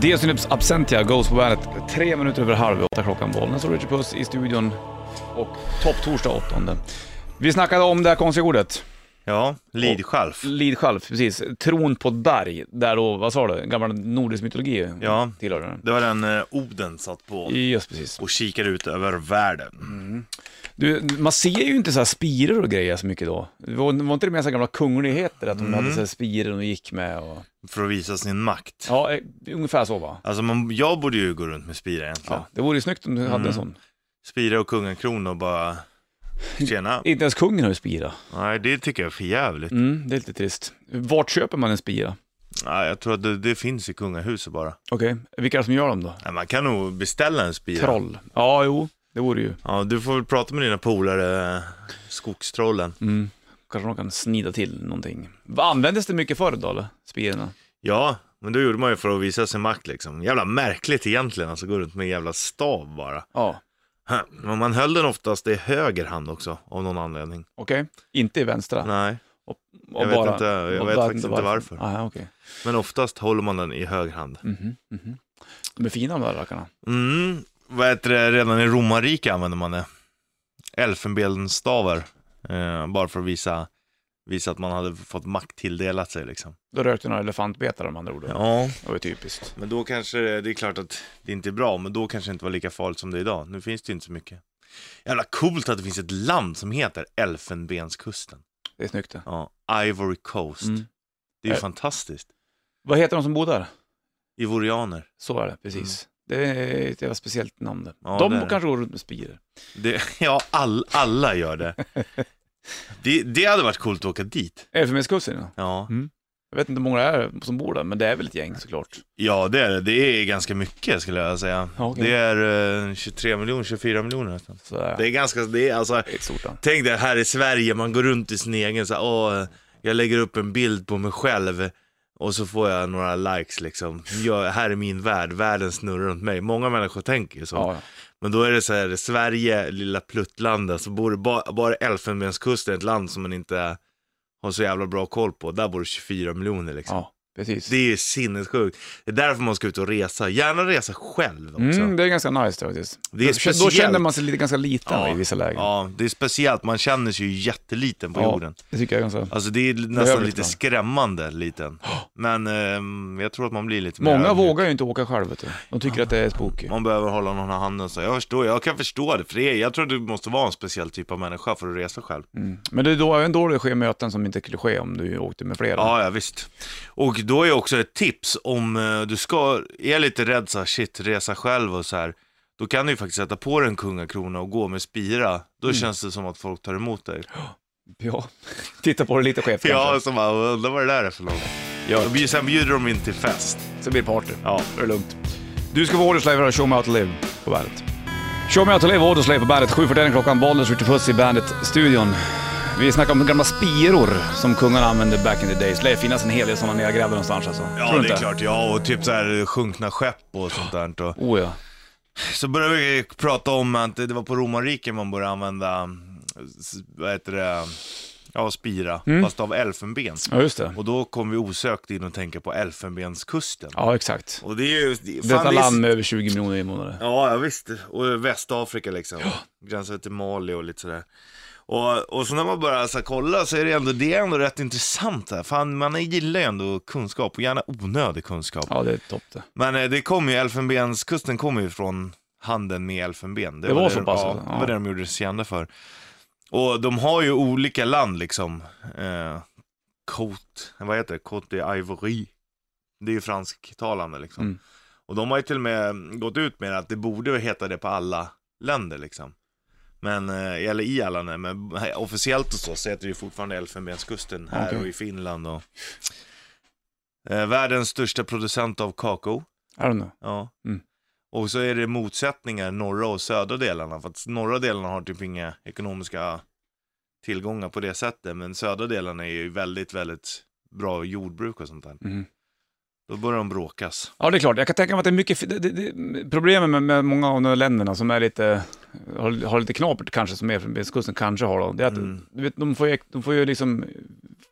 Diasynyps Absentia, Ghost på bandet. Tre minuter över halv åtta klockan Bollnäs och Richard Puss i studion. Och topptorsdag åttonde. Vi snackade om det här konstiga ordet, Ja, lidskälv. lidskälv, precis. Tron på ett berg, där då, vad sa du, gammal nordisk mytologi Ja. tillhör den. Det var den eh, Oden satt på Just precis. och kikade ut över världen. Mm. Du, man ser ju inte så här spiror och grejer så mycket då. Det Var, var inte det mer så här gamla kungligheter, att de hade så här spiror och gick med och... För att visa sin makt. Ja, eh, ungefär så va? Alltså man, jag borde ju gå runt med spira egentligen. Ja, det vore ju snyggt om du hade en sån. Spira och kungakrona och bara... Tjena. Inte ens kungen har ju spira. Nej, det tycker jag är för jävligt. Mm, det är lite trist. Vart köper man en spira? Nej, jag tror att det, det finns i kungahuset bara. Okej, vilka är det som gör dem då? Nej, man kan nog beställa en spira. Troll. Ja, jo, det vore ju. Ja, du får väl prata med dina polare, eh, skogstrollen. Mm. Kanske de kan snida till någonting. Vad Användes det mycket förr då, eller? Spirorna? Ja, men det gjorde man ju för att visa sin makt liksom. Jävla märkligt egentligen, alltså gå runt med en jävla stav bara. Ja, Huh. Men man höll den oftast i höger hand också, av någon anledning. okej. Inte i vänstra? Nej, Och, och jag vet inte- jag och vet bara- faktiskt inte varför. Aha, okej. men oftast håller man den i höger hand. Mhm, mhm. De är fina de där rackarna. Mm, vad heter det, redan i romarrike använde man det. Elfenbensstavar, eh, bara för att visa, visa att man hade fått makt tilldelat sig liksom. Då rökte några elefantbetar med andra ord. Ja, Det var ju typiskt. men då kanske, det det är klart att det inte är bra, men då kanske det inte var lika farligt som det är idag. Nu finns det ju inte så mycket. Jävla coolt att det finns ett land som heter Elfenbenskusten. Det är snyggt det. Ja, Ivory Coast. Mm. Det är ju Ä- fantastiskt. Vad heter de som bor där? Ivorianer. Så är det, precis. Det är ett jävla speciellt namn det. Mm. Ja, de det är det. kanske går runt med spiror. Det, ja, all, alla gör det. det. Det hade varit coolt att åka dit. Elfenbenskusten ja. Ja. Jag vet inte hur många det är som bor där, men det är väl ett gäng såklart. ja, det är det. Det är ganska mycket skulle jag säga. Ja, okej. Det är eh, 23 miljoner, 24 miljoner nästan. Så det Det är är ganska, det är alltså, ett stort land. tänk dig här i Sverige, man går runt i sin egen så här, åh, jag lägger upp en bild på mig själv och så får jag några likes liksom. Jag, här är min värld, världen snurrar runt mig. Många människor tänker ju så. Ja, ja. Men då är det så här, Sverige, lilla pluttlandet, så bor det bara, bara Elfenbenskusten, ett land som man inte har så jävla bra koll på. Där bor det 24 miljoner liksom. ja precis. Det är ju sinnessjukt. Det är därför man ska ut och resa. Gärna resa själv också. Mm, det är ganska nice faktiskt. Det är Då speciellt. känner man sig lite, ganska liten Ja. i vissa lägen. Ja, det är speciellt. Man känner sig ju jätteliten på jorden. det tycker jag är ganska... Alltså det är nästan Behövligt lite ibland. skrämmande liten. Men ehm, jag tror att man blir lite mer Många ödmjuk. vågar ju inte åka själv vet du. De tycker att det är spooky. Man behöver hålla någon i handen så. Jag förstår, jag kan förstå det. För det är, jag tror du måste vara en speciell typ av människa för att resa själv. Mm. Men det är då, även då det sker möten som inte skulle ske om du åkte med flera. Ja, ja visst. Och då är också ett tips om eh, du ska, är lite rädd så här, shit, resa själv och så här. Då kan du ju faktiskt sätta på dig en kungakrona och gå med spira. Då känns det som att folk tar emot dig. Ja. Titta på det lite skevt Ja, kanske. så bara, undrar vad det där är för något. Ja. Då bjud- Sen bjuder de in till fest. Så blir det party. Ja. Då är det lugnt. Du ska få Audioslave och Show Me How To Live på bandet. Show Me How To Live och Audioslave på bandet. 7.41 klockan, Bollnäs, Ritchie Puss i bandet-studion. Vi snackar om gamla spiror som kungarna använde back in the days. Det lär finnas en hel del sådana nergrävda någonstans alltså. Ja, Tror du det är inte? klart. Ja, och typ så här sjunkna skepp och sånt där. Och Oh ja. så började vi prata om att det var på romarriket man började använda, mm, s- vad heter det, ja, spira, fast av elfenben. Ja, just det. Och då kom vi osökt in och tänka på Elfenbenskusten. Ja, exakt. Och det är ju... Det, fan, Detta det är- land med över 20 miljoner invånare. Ja, ja, visst. Och Västafrika liksom. Gränsar till Mali och lite sådär. Och, och så när man börjar så här, kolla så är det ändå, det är ändå rätt intressant. Här. Fan, man gillar ju ändå kunskap och gärna onödig kunskap. Ja, det är topp det. Men eh, det kom ju, Elfenbenskusten kom ju från handeln med elfenben. Det var det, så pass, ja, alltså. det var det de gjorde sig kända för. Och de har ju olika land liksom. Eh, Côte, vad heter det? Côte d'Ivoire. Det är ju fransktalande liksom. Mm. Och de har ju till och med gått ut med att det borde heta det på alla länder liksom. Men, eh, eller i alla länder, men officiellt och så, så heter det ju fortfarande Elfenbenskusten här Okej. och i Finland och... Eh, världens största producent av kakao. I don't know. Ja. Mm. Och så är det motsättningar norra och södra delarna. För att norra delarna har typ inga ekonomiska tillgångar på det sättet. Men södra delarna är ju väldigt, väldigt bra jordbruk och sånt där. Mhm. Då börjar de bråkas. Ja, det är klart. Jag kan tänka mig att det är mycket... Det, det, det, problemet med, med många av de här länderna som är lite, har, har lite knapert kanske, som Medelhavskusten kanske har då, det är att du vet, de, får ju, de får ju liksom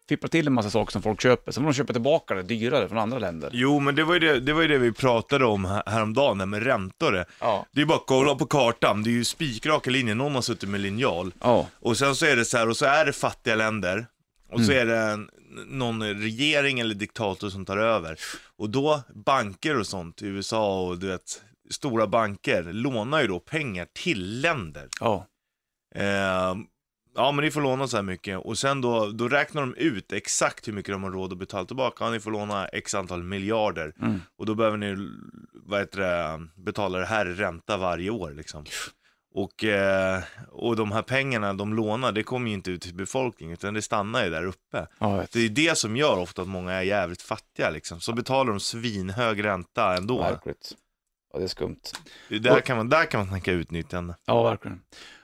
fippla till en massa saker som folk köper, sen får de köpa tillbaka det dyrare från andra länder. Jo, men det var ju det, det, var ju det vi pratade om här- häromdagen, det här med räntor. det. Ja. Det är bara att kolla på kartan, det är ju spikraka linjer, någon har suttit med linjal. Ja, Och sen så är det så här, och så är det fattiga länder. Och så är det en, någon regering eller diktator som tar över. Och då, banker och sånt i USA och du vet, stora banker lånar ju då pengar till länder. ja. Eh, ja, men ni får låna så här mycket. Och sen då, då räknar de ut exakt hur mycket de har råd att betala tillbaka. Ja, ni får låna x antal miljarder. Mm. Och då behöver ni vad heter det, betala det här i ränta varje år. Liksom. Och, eh, och de här pengarna de lånar, det kommer ju inte ut till befolkningen, utan det stannar ju där uppe. ja jag vet. Det är det som gör ofta att många är jävligt fattiga. Liksom. Så betalar de svinhög ränta ändå. Verkligt. Ja, det är skumt. Där kan man, där kan man tänka utnyttjande. Ja, verkligen.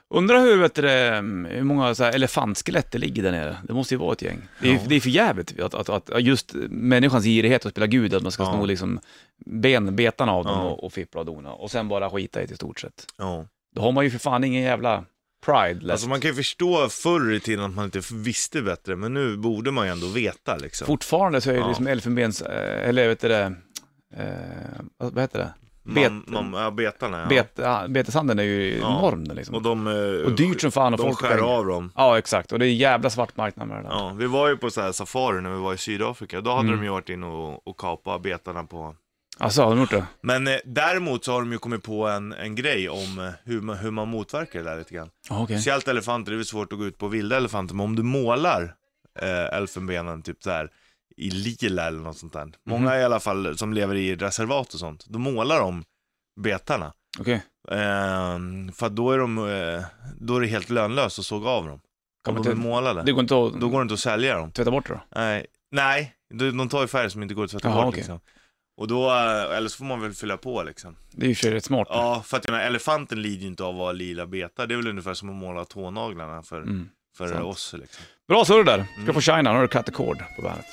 Undrar hur, vet du, det, hur många så här elefantskelett det ligger där nere. Det måste ju vara ett gäng. Det är, Ja. det är för jävligt att, att, att just människans girighet att spela gud, att man ska Ja. sno liksom benbetarna av dem Ja. och, och fippla och dona och sen bara skita i det i stort sett. Ja. Då har man ju för fan ingen jävla pride left. Alltså man kan ju förstå förr i tiden att man inte visste bättre, men nu borde man ju ändå veta liksom. Fortfarande så är det Ja. liksom elfenbens, eh, eller vet du det, eh, vad vad heter det? Bet, man, man, ja, betarna ja. bet, ja, beteshandeln är ju Ja. enorm där liksom. Och Och, de, eh, dyrt som fan och de folk skär av dem. Ja, exakt. Och det är en jävla svart marknad med det där. Ja, vi var ju på så här safari när vi var i Sydafrika, då hade Mm. de ju varit inne och, och kapat betarna på. Alltså, har de gjort det? Men eh, däremot så har de ju kommit på en, en grej om eh, hur man, hur man motverkar det där lite grann. Ja, okej. Speciellt elefanter, det är väl svårt att gå ut på vilda elefanter, men om du målar eh, elfenbenen typ så här i lila eller något sånt Mhm. där. Många i alla fall som lever i reservat och sånt, då målar de betarna. Okej. Ehm, för att då är, de, eh, då är det helt lönlöst att såga av dem. Kan Om man de är inte- målade. Det går inte att Då går det inte att sälja dem. tvätta bort det då? Nej, nej de, de tar ju färg som inte går att tvätta Jaha, bort okej. liksom. Och då, eh, eller så får man väl fylla på liksom. Det är ju i och för sig rätt smart. Ja, för att jag menar, elefanten lider ju inte av att ha lila beta. Det är väl ungefär som att måla tånaglarna för, Mm. för sant. oss liksom. Bra surr där. Ska Mm. få China, nu har du Cut the Cord på bandet.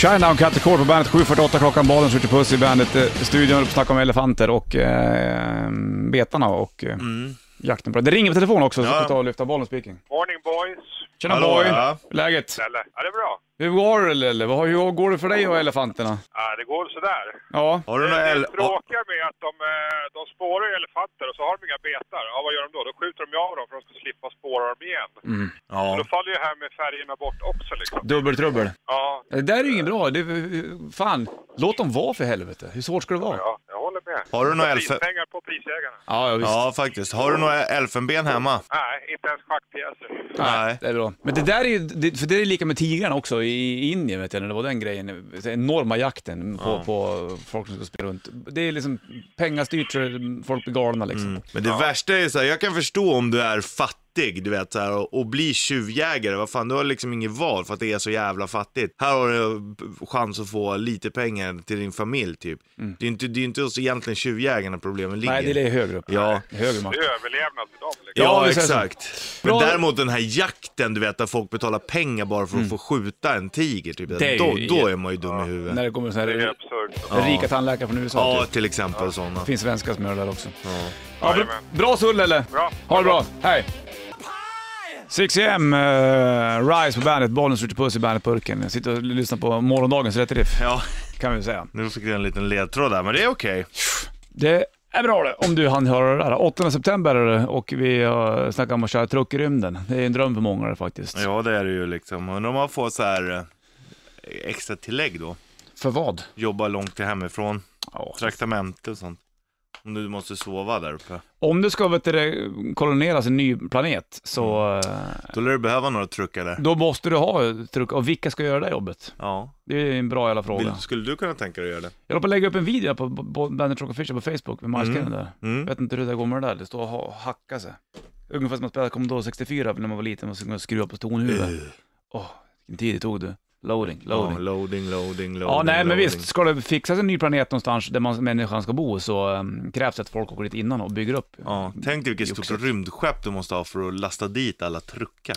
China och Cut the Cord på bandet, 7.48 klockan, bollen skjuter puss i bandet. Eh, Studion håller på att snacka om elefanter och eh, betarna och eh, Mm. jakten på det. Det ringer på telefon också, så Ja. ska vi ta och lyfta bollen speaking. Morning boys! Tjena Hallå, boy! ja. Hur är läget? Eller, ja det är bra. Hur går det Lelle? Vad har- Hur går det för dig och elefanterna? Ja, det går sådär. Ja, Har du Det, några det el- oh, tråkiga med att de, eh, de spårar ju elefanter och så har de inga betar. Ja, vad gör de då? Då skjuter de ju av dem för att de ska slippa spåra dem igen. ja. Då faller ju här med färgerna bort också liksom. dubbeltrubbel. Ja, Eh, Det där är ju inget bra. Det, är- fan, låt dem vara för helvete. Hur svårt ska det vara? ja jag håller med. Har du några Och elfen- Prispengar på prisjägarna. Ja, ja visst. ja, faktiskt. Har du några elfenben hemma? Nej, inte ens schackpjäser. Nej, Nej. det är bra. Men det där är ju, det, för det är lika med tigrarna också i Indien vet jag, när det var den grejen, den enorma jakten på, på folk som ska spela runt. Det är liksom pengastyrt så folk blir galna liksom. Men det värsta är så här, jag kan förstå om du är fattig, du vet så här, och, och blir tjuvjägare. Vad fan, du har liksom inget val för att det är så jävla fattigt. Här har du chans att få lite pengar till din familj typ. Det är inte, det är inte hos egentligen tjuvjägarna problemen ligger. Mm. Nej, det är högre upp. Ja. Det är Högre Det makt. är överlevnad för dem liksom. Ja, Ja, vi säger så. exakt. Bra. Men däremot den här jakten, du vet, där folk betalar pengar bara för att få skjuta en tiger. Typ. Mm. Det är då, ju- då är man ju dum i huvudet. När det kommer sådana Det är ju här absurt. rika tandläkare från USA. Ja, Typ. till exempel sådana. Det finns svenskar som gör det där också. Ja, Jajamän. bra, bra surr Lelle! Bra. Ha det bra, hej! 6M, uh, Rise på bandet, bollen skjuter puss i bandetburken. Jag sitter och lyssnar på morgondagens rätt riff, Ja, kan vi säga. nu fick jag en liten ledtråd där, men det är okej. Det är bra det, om du hann höra det där. 8 september är det och vi eh, snackar om att köra truck i rymden. Det är en dröm för många det faktiskt. Ja, det är det ju liksom. Undrar om man får så här eh, extra tillägg då. För vad? Jobba långt till hemifrån, Ja. traktamente och sånt. Om du måste sova där uppe. Om du ska vet du, det, koloneras en ny planet Mm. så eh, Då lär du behöva några truckar där. då måste du ha truck. Och vilka ska göra det jobbet? Ja. Det är en bra jävla Vill, fråga. skulle du kunna tänka dig att göra det? Jag håller på att lägga upp en video på, på Bandit Rock Official på Facebook med markskriven där. Jag Mm. vet inte hur det går med det där. Det står och ha- hacka sig. Ungefär som man spelade Commodore 64 när man var liten. Man skulle skruva på Ugh. tonhuvudet. Åh, vilken tid det tog du. Loading, loading. Ja, loading, loading, loading. Ja, nej men loading. visst. Ska det fixas en ny planet någonstans där man, människan ska bo så ehm, krävs det att folk åker dit innan och bygger upp. Ja, tänk dig vilket stort Joxigt. rymdskepp du måste ha för att lasta dit alla truckar.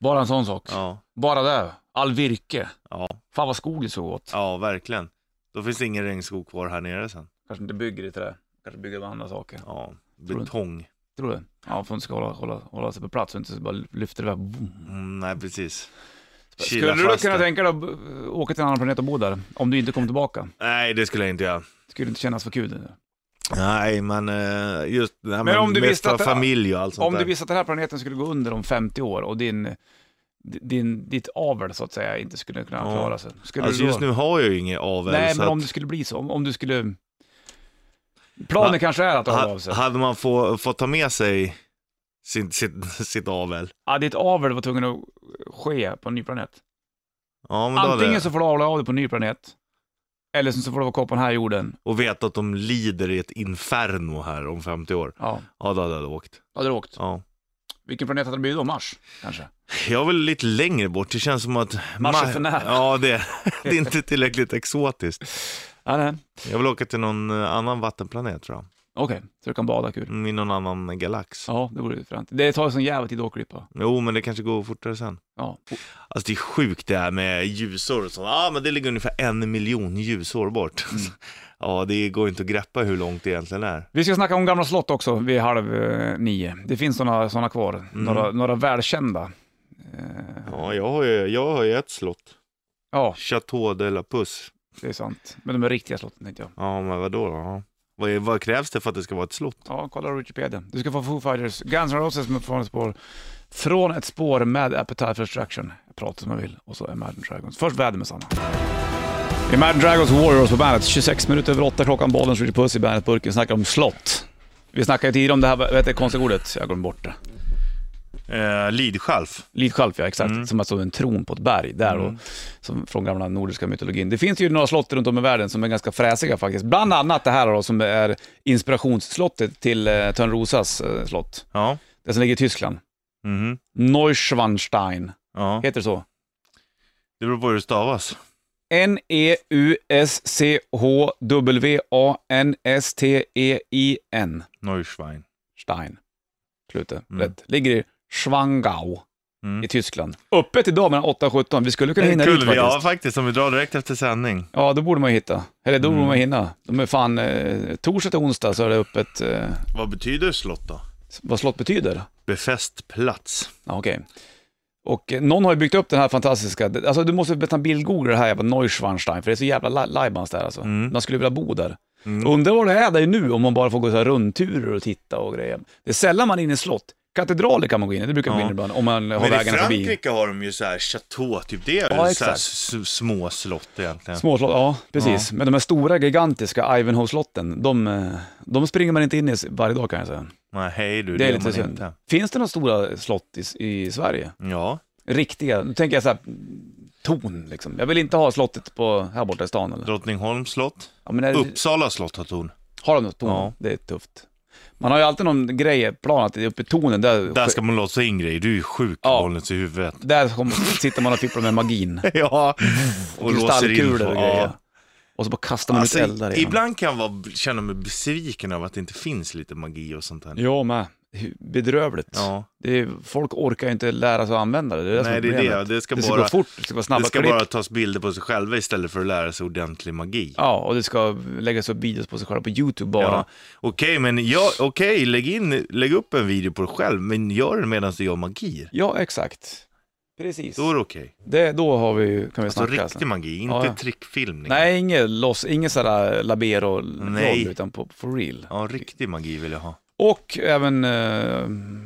Bara en sån sak. Ja, Bara det. All virke. ja, Fan vad skog det såg åt. ja verkligen. Då finns det ingen regnskog kvar här nere sen. Kanske inte bygger i trä. Kanske bygger av andra saker. Ja, du inte? betong. Tror du? Ja, för att ska hålla, hålla, hålla sig på plats och inte bara lyfter iväg. Boom. Mm, nej, precis. Kila Skulle du fast kunna det. tänka dig att eh, åka till en annan planet och bo där? Om du inte kom tillbaka? Nej, det skulle jag inte göra. Skulle inte kännas för kul? Nej, men eh, just nej, men om du mest visste att för det- familj och allt sånt Om du där. visste att den här planeten skulle gå under om 50 år och din, din, ditt avel så att säga inte skulle kunna Ja. klara sig. Skulle Alltså du då... just nu har jag ju ingen avel. Nej, så men om att- det skulle bli så. Om, om du skulle... Planen Va? kanske är att höra av sig. Ha, hade man få, fått ta med sig sin, sitt, sitt avel? Ja, ditt avel var tvungen att ske på en ny planet. Ja, men då hade Antingen jag- så får du avla av dig på en ny planet, eller så får du vara kvar på den här jorden. Och veta att de lider i ett inferno här om 50 år. Ja, Ja, då hade jag åkt. hade du åkt. Ja. Vilken planet hade det blivit då? Mars, kanske? Jag vill lite längre bort. Det känns som att... Mars är för nära. Ja, det, det är inte tillräckligt exotiskt. Ja, nej. Jag vill åka till någon eh, annan vattenplanet tror jag. Okej, så du kan bada kul. Mm, I någon annan galax. Ja, det vore ju fränt. Det tar ju sån jävla tid att åka Jo, men det kanske går fortare sen. Ja. Alltså det är sjukt det här med ljusår och sånt. Ja, ah, men det ligger ungefär en miljon ljusår bort. ja, det går inte att greppa hur långt det egentligen är. Vi ska snacka om gamla slott också vid halv eh, nio. Det finns såna, såna kvar, Mm. några, några välkända. Eh, Ja, jag har ju, jag har ju ett slott. ja, Chateau de la Puss. det är sant. Men de är riktiga slott, tänkte jag. Ja, men vadå då? Ja. Vad, är- vad krävs det för att det ska vara ett slott? Ja, kolla Wikipedia. Du ska få Foo Fighters, Guns N' Roses med från ett spår. Från ett spår med Appetite for Destruction. Prata som man vill. Och så Imagine Dragons. Först väder med Sanna. Imagine Dragons Warriors på bandet. 26 minuter över 8 klockan. Bollen skjuter puss i bandetburken. Snackar om slott. Vi snackade ju tidigare om det här, vad heter det konstiga ordet? Jag glömde bort det. Eh, Lidskälf. Lidskälf ja, exakt. Som alltså en tron på ett berg där och, som från gamla nordiska mytologin. Det finns ju några slott runt om i världen som är ganska fräsiga faktiskt. Bland annat det här då, som är inspirationsslottet till eh, Törnrosas eh, slott. Ja. Det som ligger i Tyskland. Mhm. Neuschwanstein, ja. heter det så? Det beror på hur det stavas. E N-E-U-S-C-H-W-A-N-S-T-E-I-N. Neuschwein. E Stein. Slutet. Mm. Rätt. Ligger i Schwangau Mm. i Tyskland. Öppet idag mellan 8 och 17. Vi skulle kunna hinna dit Kul, faktiskt. ja faktiskt, om vi drar direkt efter sändning. Ja, då borde man ju hitta. Eller då Mm. borde man hinna. De är fan, eh, torsdag till onsdag så är det öppet, eh, Vad betyder slott då? vad slott betyder. Befäst plats. Ja, okej. Och eh, någon har ju byggt upp den här fantastiska, alltså du måste nästan bildgoogla det här jävla Neuschwanstein, för det är så jävla la- lajbans där alltså. Mm. Man skulle vilja bo där. Undrar vad det är där nu om man bara får gå så här rundturer och titta och grejer. Det är sällan man är inne i slott. Katedraler kan man gå in i, det brukar man gå in ibland om man har Men i vägarna Frankrike förbi. har de ju så här chateau, typ det är Ja, ja, så här exakt. s- s- små slott egentligen. Småslott, ja precis. Men de här stora gigantiska Ivanhoe-slotten, de, eh, de springer man inte in i varje dag kan jag säga. Nej, hej du, Det är gör lite man synd. inte. Finns det några stora slott i, i Sverige? Ja, Riktiga? Nu tänker jag så här, torn liksom. Jag vill inte ha slottet på, här borta i stan eller? Drottningholms slott. Ja, men är det, Uppsala slott har torn. Har de något torn? Ja. Det är tufft. Man har ju alltid någon grej, plan att det är uppe i tornen, där, Där ska man låsa in grejer, du är ju sjuk Ja. Bollnäs i huvudet. där kommer- sitter man och fipplar med magin. Ja, och låser in. Kristallkulor folk. och grejer. Ja. Och så bara kastar man Alltså, ut eldar i dem. ibland kan jag vara- känna mig besviken över att det inte finns lite magi och sånt här. Jag med. Hur Bedrövligt. Ja. Det är, folk orkar ju inte lära sig att använda det. det är som Nej, det är problemet. det. Det ska ska bara- gå fort, det ska vara snabba Det ska klipp. bara tas bilder på sig själva istället för att lära sig ordentlig magi. Ja, och det ska läggas upp videos på sig själva på YouTube bara. Ja. Okej, men jag, okej, lägg, in, lägg upp en video på dig själv, men gör den medan du gör magi. Ja, exakt. Precis. Då är det okej. Det, då har vi, ju- kan vi Alltså snacka. riktig magi, inte liksom. Ja, ja. trickfilmning. Nej, inget loss, ingen sådär labero Nej. roll utan på, for real. Ja, riktig magi vill jag ha. Och även, eh,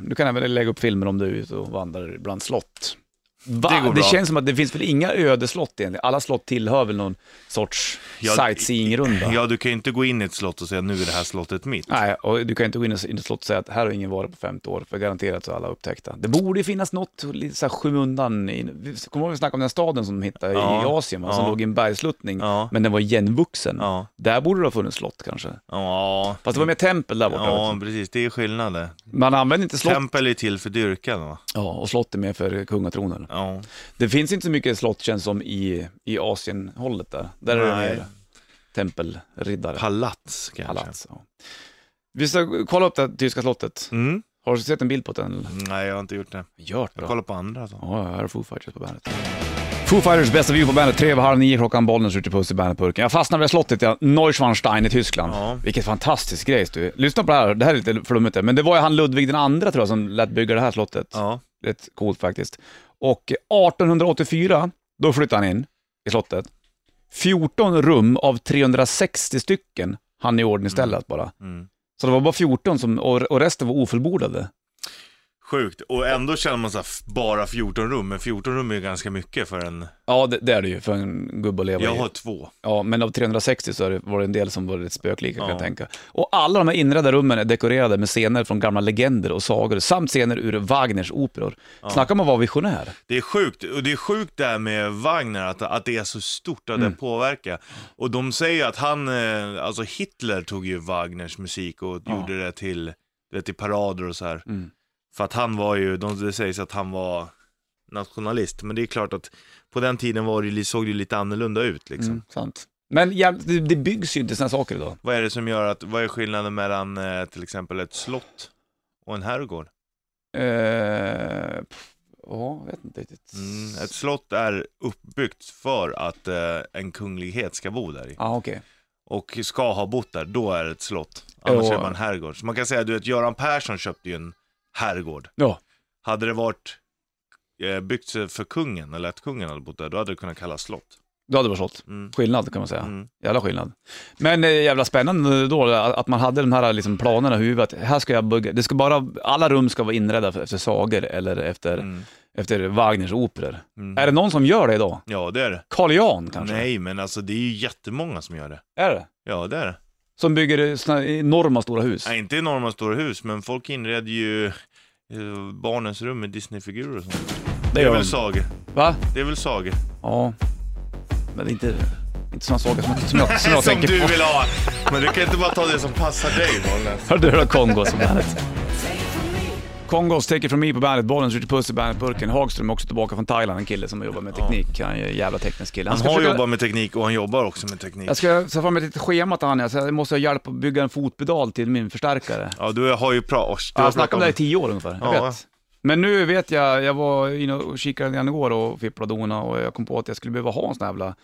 du kan även lägga upp filmer om du är ute och vandrar bland slott. Va? Det går bra. känns som att det finns väl inga ödeslott egentligen? Alla slott tillhör väl någon sorts Ja, sightseeingrunda? Ja, du kan ju inte gå in i ett slott och säga nu är det här slottet mitt. Nej, och du kan inte gå in i ett slott och säga att här har ingen varit på 50 år, för garanterat så är alla upptäckta. Det borde ju finnas något lite så här skymundan. i- vi- Kommer du ihåg att vi snackade om den staden som de hittade i Ja, Asien, va, som ja. låg i en bergsluttning, Ja. men den var igenvuxen? Ja. Där borde det ha funnits slott kanske. Ja, Fast det var mer tempel där borta. ja vet precis. Det är skillnaden. du. Man använder inte slott. Tempel är till för dyrkan va? Ja, och slott är mer för kungatronen. Ja. Det finns inte så mycket slott känns som i, i Asien-hållet där. Där är det Nej. mer tempelriddare. Palats kanske. Palats. Ja. Vi ska kolla upp det här tyska slottet. Mm. Har du sett en bild på den? Nej, jag har inte gjort det. Gör det Jag då. kollar på andra. alltså. Så. Ja, här är Foo Fighters på bandet. Foo Fighters bästa view på bandet, tre över halv nio klockan, Bollnäs ute på Bandet-burken. Jag fastnade vid slottet, ja, Neuschwanstein i Tyskland. Ja. Vilket fantastisk grej du. Lyssna på det här, det här är lite flummigt men det var ju han Ludvig den andra tror jag som lät bygga det här slottet. Ja. Rätt coolt faktiskt. Och 1884, då flyttade han in i slottet. 14 rum av 360 stycken han i ordning istället bara. Mm. Så det var bara 14 som, och, och resten var ofullbordade. Sjukt. Och ändå känner man så här, f- bara 14 rum, men 14 rum är ju ganska mycket för en... Ja, det, det är det ju för en gubbe att leva Jag i. har två. Ja, men av 360 så är det- var det en del som var rätt spöklika kan Ja. jag tänka. Och alla de här inredda rummen är dekorerade med scener från gamla legender och sagor, samt scener ur Wagners operor. Snacka om att vara visionär. Det är sjukt, och det är sjukt det här med Wagner, att, att det är så stort, att det påverkar. Och de säger ju att han, eh, alltså Hitler tog ju Wagners musik och gjorde det till, du vet, till parader och så här. Mm. För att han var ju, de, det sägs att han var nationalist, men det är klart att på den tiden var det, ju- såg det ju lite annorlunda ut liksom. Mm, sant. Men jävligt- det, det byggs ju inte sådana saker idag. Vad är det som gör att, vad är skillnaden mellan eh, till exempel ett slott och en herrgård? Eh, pff, ja, jag vet inte riktigt. Mm, ett slott är uppbyggt för att eh, en kunglighet ska bo där i. Ja, okej. och ska ha bott där, då är det ett slott. Annars Ja. är det bara en herrgård. Så man kan säga, du vet, Göran Persson köpte ju en herrgård. Ja. Hade det varit eh, byggt för kungen, eller att kungen hade bott där, då hade det kunnat kallas slott. Då hade det varit slott. Mm. Skillnad kan man säga. Mm. Jävla skillnad. Men eh, jävla spännande då att att man hade de här liksom, planerna i huvudet. Här ska jag bygga, det ska bara, alla rum ska vara inredda för- efter sagor eller efter, Mm. efter Wagners operor. Mm. Är det någon som gör det idag? Ja, det är det. Carl Jan kanske? Nej, men alltså det är ju jättemånga som gör det. Är det? Ja, det är det. Som bygger såna enorma stora hus? Nej, inte enorma stora hus, men folk inreder ju eh, barnens rum med Disney-figurer och sånt. Det är gör väl de. sagor. Va? Det är väl sagor. Ja. Men det är inte, inte sådana saker som, som jag, som jag Som tänker du på. vill ha! Men du kan inte bara ta det som passar dig, Bollnäs. Hörde du det? Kongos på bandet. Kongos Take It From Me på bandet, bollen skjuter puss i bandetburken. Hagström också tillbaka från Thailand, en kille som jobbar med teknik. Han är en jävla teknisk kille. Han ska har försöka- jobbat med teknik och han jobbar också med teknik. Jag ska ta fram ett litet schema till han, jag så jag måste ha hjälp att bygga en fotpedal till min förstärkare. Ja, du har ju pra- ors, Jag du har har pratat snackat om det här i tio år ungefär, jag Ja. vet. Men nu vet jag, jag var inne och kikade igen igår och fipplade och donade och jag kom på att jag skulle behöva ha en sån här jävla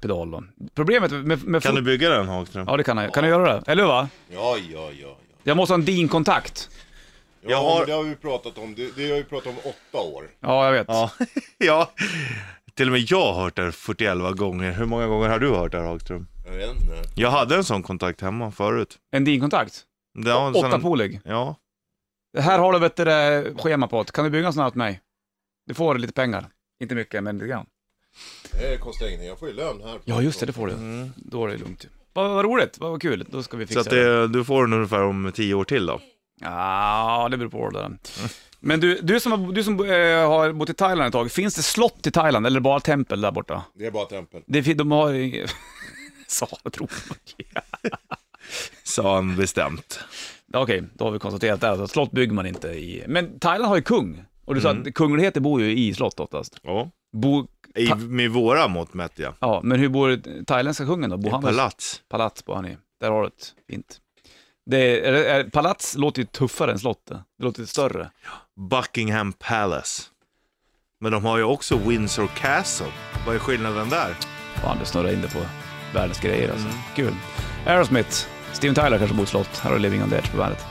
pedal då. Problemet med, med Kan fot- du bygga den Hagström? Ja det kan jag, kan du göra det? Eller hur va? Ja, ja, ja. ja. Jag måste ha en din-kontakt. ja Jag har- men det har vi pratat om. Det, det har vi pratat om åtta år. Ja jag vet. Ja. ja. Till och med jag har hört det 41 gånger. Hur många gånger har du hört det här, Hagström? Jag vet inte. Jag hade en sån kontakt hemma förut. En din-kontakt. Det var en sån- Åttapolig. Ja. Det här har du vet du, det schema på. Kan du bygga en sån här åt mig? Du får lite pengar. Inte mycket, men lite grann. Det kostar ingenting. Jag får ju lön här. Ja just det, det får du. Mm. Då är det lugnt. Vad vad roligt, vad vad kul. Då ska vi Mm. Så fixa att det, du får den ungefär om 10 år till då. Ja, det beror på åldern. Men du, du som, har, du som eh, har bott i Thailand ett tag, finns det slott i Thailand eller bara tempel där borta? Det är bara tempel. Det, fin- de har inget... Sa jag, tror jag. Sa han bestämt. Ja, Okej, då har vi konstaterat det. här, att Slott bygger man inte i. Men Thailand har ju kung. Och du sa Mm. att kungligheter bor ju i slott oftast. Ja. Bo... I, med våra mått mätt ja. Ja, men hur bor thailändska kungen då? Bor han Palats. Palats bor han i. Där har du ett. Fint. Det är, är, är, palats låter ju tuffare än slott. Det Det låter större. Buckingham Palace. Men de har ju också Windsor Castle. Vad är skillnaden där? Fan, du snurrar in det på världens grejer alltså. Kul. Aerosmith, Steven Tyler kanske bor i slott. Här har du Living on the Edge på bandet.